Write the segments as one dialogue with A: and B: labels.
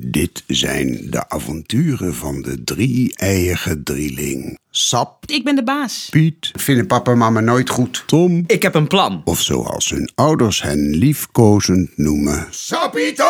A: Dit zijn de avonturen van de drie-eiige drieling. Sap,
B: Ik ben de baas.
A: Piet, vinden papa en mama nooit goed. Tom,
C: Ik heb een plan.
A: of zoals hun ouders hen liefkozend noemen. Sapito!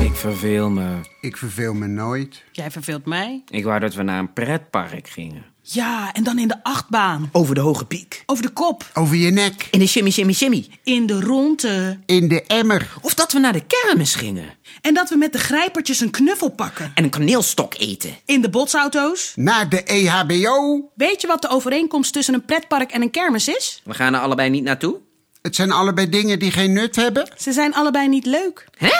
C: Ik verveel me.
A: Ik verveel me nooit.
B: Jij verveelt mij.
C: Ik wou dat we naar een pretpark gingen.
B: Ja, en dan in de achtbaan.
D: Over de hoge piek.
B: Over de kop.
A: Over je nek,
D: In de shimmy, shimmy, shimmy.
B: In de ronde.
A: in de emmer.
C: Of dat we naar de kermis gingen.
B: En dat we met de grijpertjes een knuffel pakken.
D: En een kaneelstok eten.
B: In de botsauto's.
A: Naar de E EHBO.
B: Weet je wat de overeenkomst tussen een pretpark en een kermis is?
C: We gaan er allebei niet naartoe.
A: Het zijn allebei dingen die geen nut hebben.
B: Ze zijn allebei niet leuk.
C: Hè?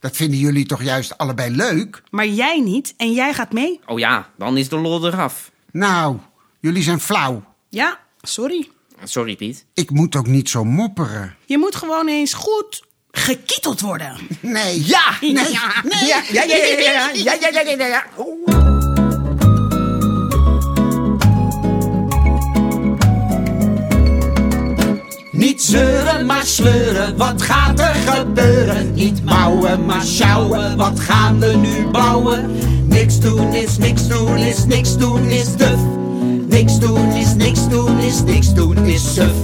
A: Dat vinden jullie toch juist allebei leuk?
B: Maar jij niet en jij gaat mee.
C: Oh ja, dan is de lol eraf.
A: Nou, jullie zijn flauw.
B: Ja, sorry.
C: Sorry Piet.
A: Ik moet ook niet zo mopperen.
B: Je moet gewoon eens goed gekieteld worden.
A: Nee. Ja! Nee. Nee.
D: ja, ja, ja, ja, ja, ja, ja, ja, ja.
E: Niet zeuren, maar sleuren, wat gaat er gebeuren? Niet mouwen, maar sjouwen, wat gaan we nu bouwen? Niks doen is niks doen is niks doen is duf. Niks doen is niks doen is niks doen is suf.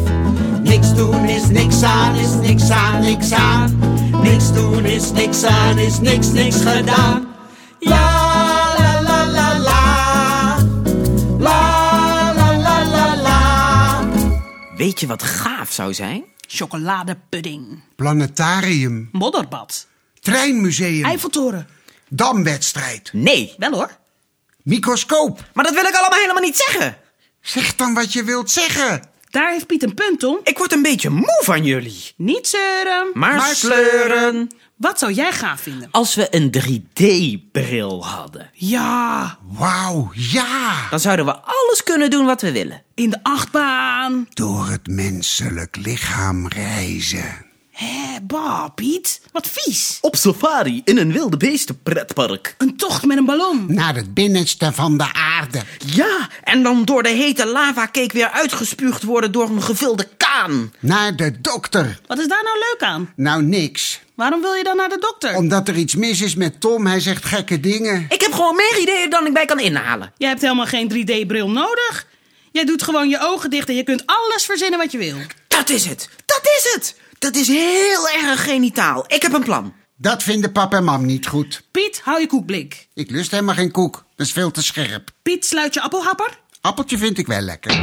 E: Niks doen is niks aan is niks aan niks aan. Niks doen is niks aan is niks niks gedaan. Ja la la la la. La la la la la.
C: Weet je wat gaaf zou zijn?
B: Chocoladepudding.
A: Planetarium.
B: Modderbad.
A: Treinmuseum.
B: Eiffeltoren.
A: Damwedstrijd.
C: Nee,
B: Wel hoor.
A: Microscoop.
C: maar dat wil ik allemaal helemaal niet zeggen.
A: Zeg dan wat je wilt zeggen.
B: Daar heeft Piet een punt om.
C: Ik word een beetje moe van jullie.
B: Niet zeuren.
C: Maar, sleuren.
B: Wat zou jij gaaf vinden?
C: Als we een 3D-bril hadden,
B: Ja,
A: Wauw, ja.
C: dan zouden we alles kunnen doen wat we willen.
B: in de achtbaan.
A: Door het menselijk lichaam reizen.
B: Hé, bah, Piet. Wat vies.
C: Op safari in een wilde beesten pretpark.
B: Een tocht met een ballon.
A: Naar het binnenste van de aarde.
C: Ja, en dan door de hete lavacake weer uitgespuugd worden door een gevulde kaan.
A: Naar de dokter.
B: Wat is daar nou leuk aan?
A: Nou, niks.
B: Waarom wil je dan naar de dokter?
A: Omdat er iets mis is met Tom. Hij zegt gekke dingen.
C: Ik heb gewoon meer ideeën dan ik bij kan inhalen.
B: Jij hebt helemaal geen 3D-bril nodig. Jij doet gewoon je ogen dicht en je kunt alles verzinnen wat je wil.
C: Dat is het. Dat is het. Dat is heel erg genitaal. Ik heb een plan.
A: Dat vinden pap en mam niet goed.
B: Piet, hou je koekblik.
A: Ik lust helemaal geen koek. Dat is veel te scherp.
B: Piet, sluit je appelhapper.
A: Appeltje vind ik wel lekker.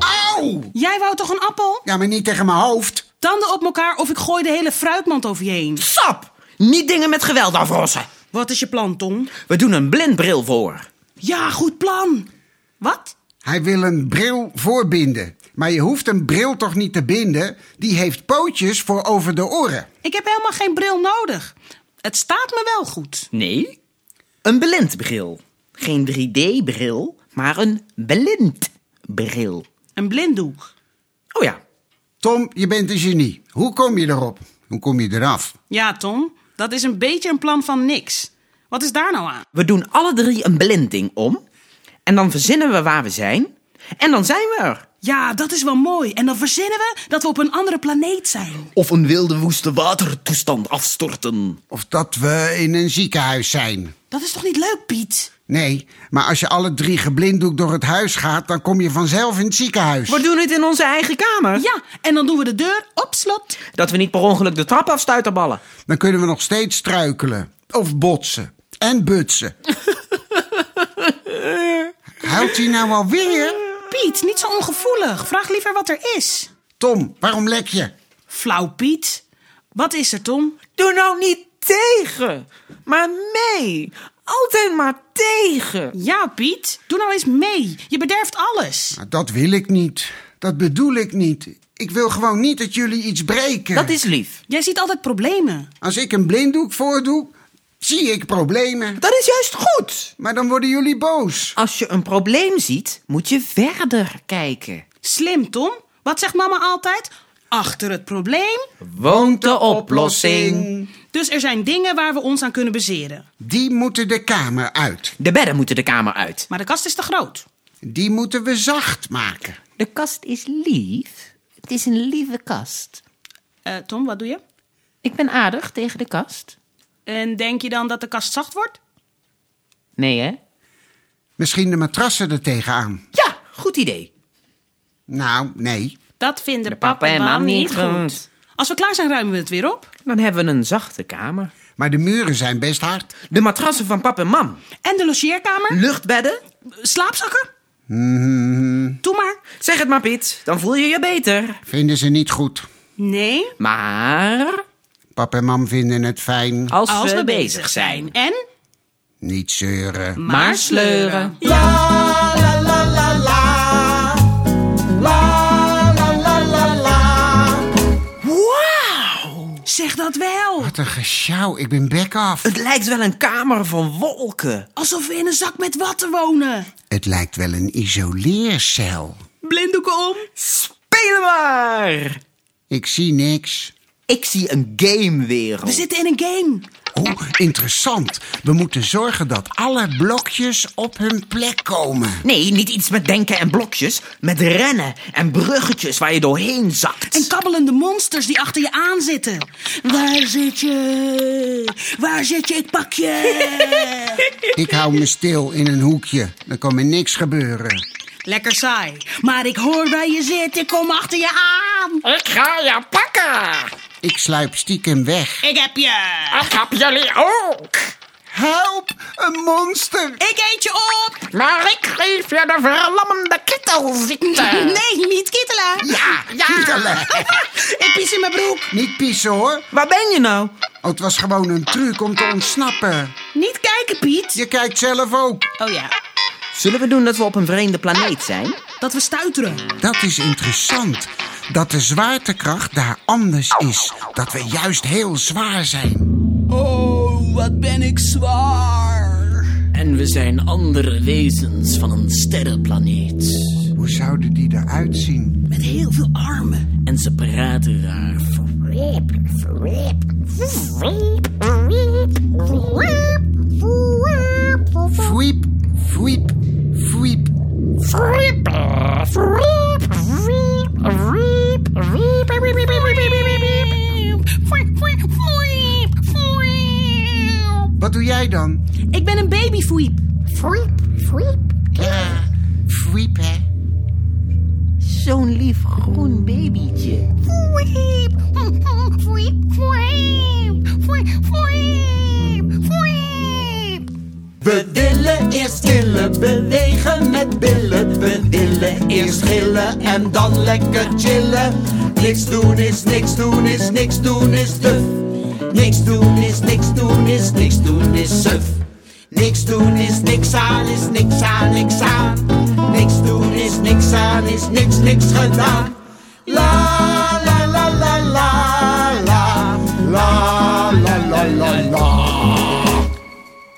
A: Auw!
B: Jij wou toch een appel?
A: Ja, maar niet tegen mijn hoofd.
B: Tanden op elkaar of ik gooi de hele fruitmand over je heen.
C: Sap! Niet dingen met geweld afrossen.
B: Wat is je plan, Tom?
C: We doen een blindbril voor.
B: Ja, goed plan. Wat?
A: Hij wil een bril voorbinden. Maar je hoeft een bril toch niet te binden? Die heeft pootjes voor over de oren.
B: Ik heb helemaal geen bril nodig. Het staat me wel goed.
C: Nee, een blindbril. Geen 3D-bril, maar een blindbril.
B: Een blinddoek.
C: Oh ja,
A: Tom, je bent een genie. Hoe kom je erop? Hoe kom je eraf?
B: Ja, Tom, dat is een beetje een plan van niks. Wat is daar nou aan?
C: we doen alle drie een blinding om. En dan verzinnen we waar we zijn. En dan zijn we er.
B: Ja, dat is wel mooi. En dan verzinnen we dat we op een andere planeet zijn.
C: Of een wilde woeste watertoestand afstorten.
A: Of dat we in een ziekenhuis zijn.
B: Dat is toch niet leuk, Piet?
A: Nee, maar als je alle drie geblinddoekt door het huis gaat, dan kom je vanzelf in het ziekenhuis.
C: We doen het in onze eigen kamer.
B: Ja, en dan doen we de deur op slot.
C: Dat we niet per ongeluk de trap afstuiterballen.
A: Dan kunnen we nog steeds struikelen. Of botsen. En butsen. Houdt hij nou alweer?
B: Piet, niet zo ongevoelig. Vraag liever wat er is.
A: Tom, waarom lek je?
B: Flauw, Piet. Wat is er, Tom?
C: Doe nou niet tegen, maar mee. Altijd maar tegen.
B: Ja, Piet. Doe nou eens mee. Je bederft alles.
A: Nou, dat wil ik niet. Dat bedoel ik niet. Ik wil gewoon niet dat jullie iets breken.
C: Dat is lief.
B: Jij ziet altijd problemen.
A: Als ik een blinddoek voordoe, zie ik problemen.
C: Dat is juist goed.
A: Maar dan worden jullie boos.
C: Als je een probleem ziet, moet je verder kijken.
B: Slim, Tom. Wat zegt mama altijd? Achter het probleem.
C: Woont de
B: Dus er zijn dingen waar we ons aan kunnen bezeren.
A: Die moeten de kamer uit.
C: De bedden moeten de kamer uit.
B: Maar de kast is te groot.
A: Die moeten we zacht maken.
D: De kast is lief. Het is een lieve kast.
B: Eh, Tom, wat doe je?
D: Ik ben aardig tegen de kast.
B: En denk je dan dat de kast zacht wordt?
D: Nee, hè?
A: Misschien de matrassen er tegenaan.
D: Ja, goed idee.
A: Nou, nee.
B: Dat vinden papa, en mam niet goed. Als we klaar zijn, ruimen we het weer op.
C: Dan hebben we een zachte kamer.
A: Maar de muren zijn best hard.
C: De matrassen van pap en mam.
B: En de logeerkamer?
C: Luchtbedden.
B: Slaapzakken? Doe maar.
C: Zeg het maar, Piet. Dan voel je je beter.
A: Vinden ze niet goed.
B: Nee,
C: Maar
A: Pap en mam vinden het fijn.
C: als,
B: als
C: we,
B: we
C: bezig zijn.
B: en?
A: Niet zeuren.
C: Maar sleuren.
E: La la la la la. La la la la la.
B: Zeg dat wel.
A: Wat een gesjouw. Ik ben bek af.
C: Het lijkt wel een kamer van wolken.
B: Alsof we in een zak met watten wonen.
A: Het lijkt wel een isoleercel.
B: Blinddoeken om.
C: Spelen maar!
A: Ik zie niks.
C: Ik zie een
B: We
C: gamewereld.
B: zitten in een game.
A: Oh, interessant. We moeten zorgen dat alle blokjes op hun plek komen.
C: Nee, niet iets met denken en blokjes. Met rennen en bruggetjes waar je doorheen zakt.
B: En kabbelende monsters die achter je aan zitten. Waar zit je? Waar zit je? Ik pak je.
A: Ik hou me stil in een hoekje. Dan kan me niks gebeuren.
B: Lekker saai. Maar ik hoor waar je zit. Ik kom achter je aan.
F: Ik ga je pakken.
A: Ik sluip stiekem weg.
B: Ik heb je.
F: Ik heb jullie ook.
A: Help! Een monster!
B: Ik eet je op.
F: Maar ik geef je de verlammende
B: Eh.
F: kittelziekte.
B: Nee, niet kittelen.
A: Ja, niet alleen.
B: Ik pies in mijn broek.
A: Niet pissen hoor.
C: Waar ben je nou?
A: Oh, het was gewoon een truc om te ontsnappen.
B: Niet kijken, Piet.
A: Je kijkt zelf ook.
B: Oh ja,
C: Zullen we doen dat we op een vreemde planeet zijn?
B: dat we stuiteren.
A: Dat is interessant. Dat de zwaartekracht daar anders is. Dat we juist heel zwaar zijn.
B: Oh, wat ben ik zwaar.
G: En we zijn andere wezens van een sterrenplaneet.
A: Hoe zouden die eruit zien?
B: Met heel veel armen.
G: En ze praten raar.
A: Fwiep, fwiep, fwiep. Wat doe jij dan?
B: Ik ben een babyfoeip.
A: Ja, fwiep hè.
C: Zo'n lief groen babytje.
E: We willen eerst killen, bewegen met billen. We willen eerst gillen en dan lekker chillen. Niks doen is niks doen is niks doen is duf. Niks doen is niks doen is niks doen is suf. Niks doen is niks aan is niks aan niks aan. Niks doen is niks aan is niks niks gedaan. La la la la la la la la la la la.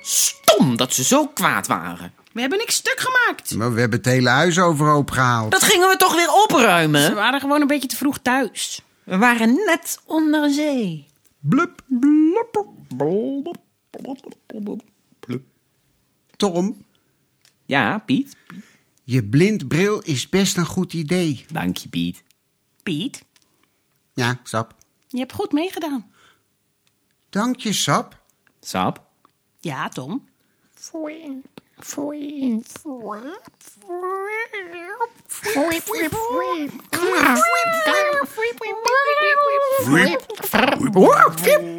C: Stom dat ze zo kwaad waren.
B: We hebben niks stuk gemaakt.
A: Maar we hebben het hele huis overhoop gehaald.
C: Dat gingen we toch weer
B: We
C: opruimen?
B: waren gewoon een beetje te vroeg thuis.
C: We waren net onder zee.
A: Blup. Tom,
C: Ja, Piet.
A: je blind bril is best een goed idee.
C: Dank je, Piet.
B: Piet,
A: Ja, sap.
B: je hebt goed meegedaan.
A: Dank je, sap.
C: Sap.
B: Ja, Tom.
F: Wip, wip,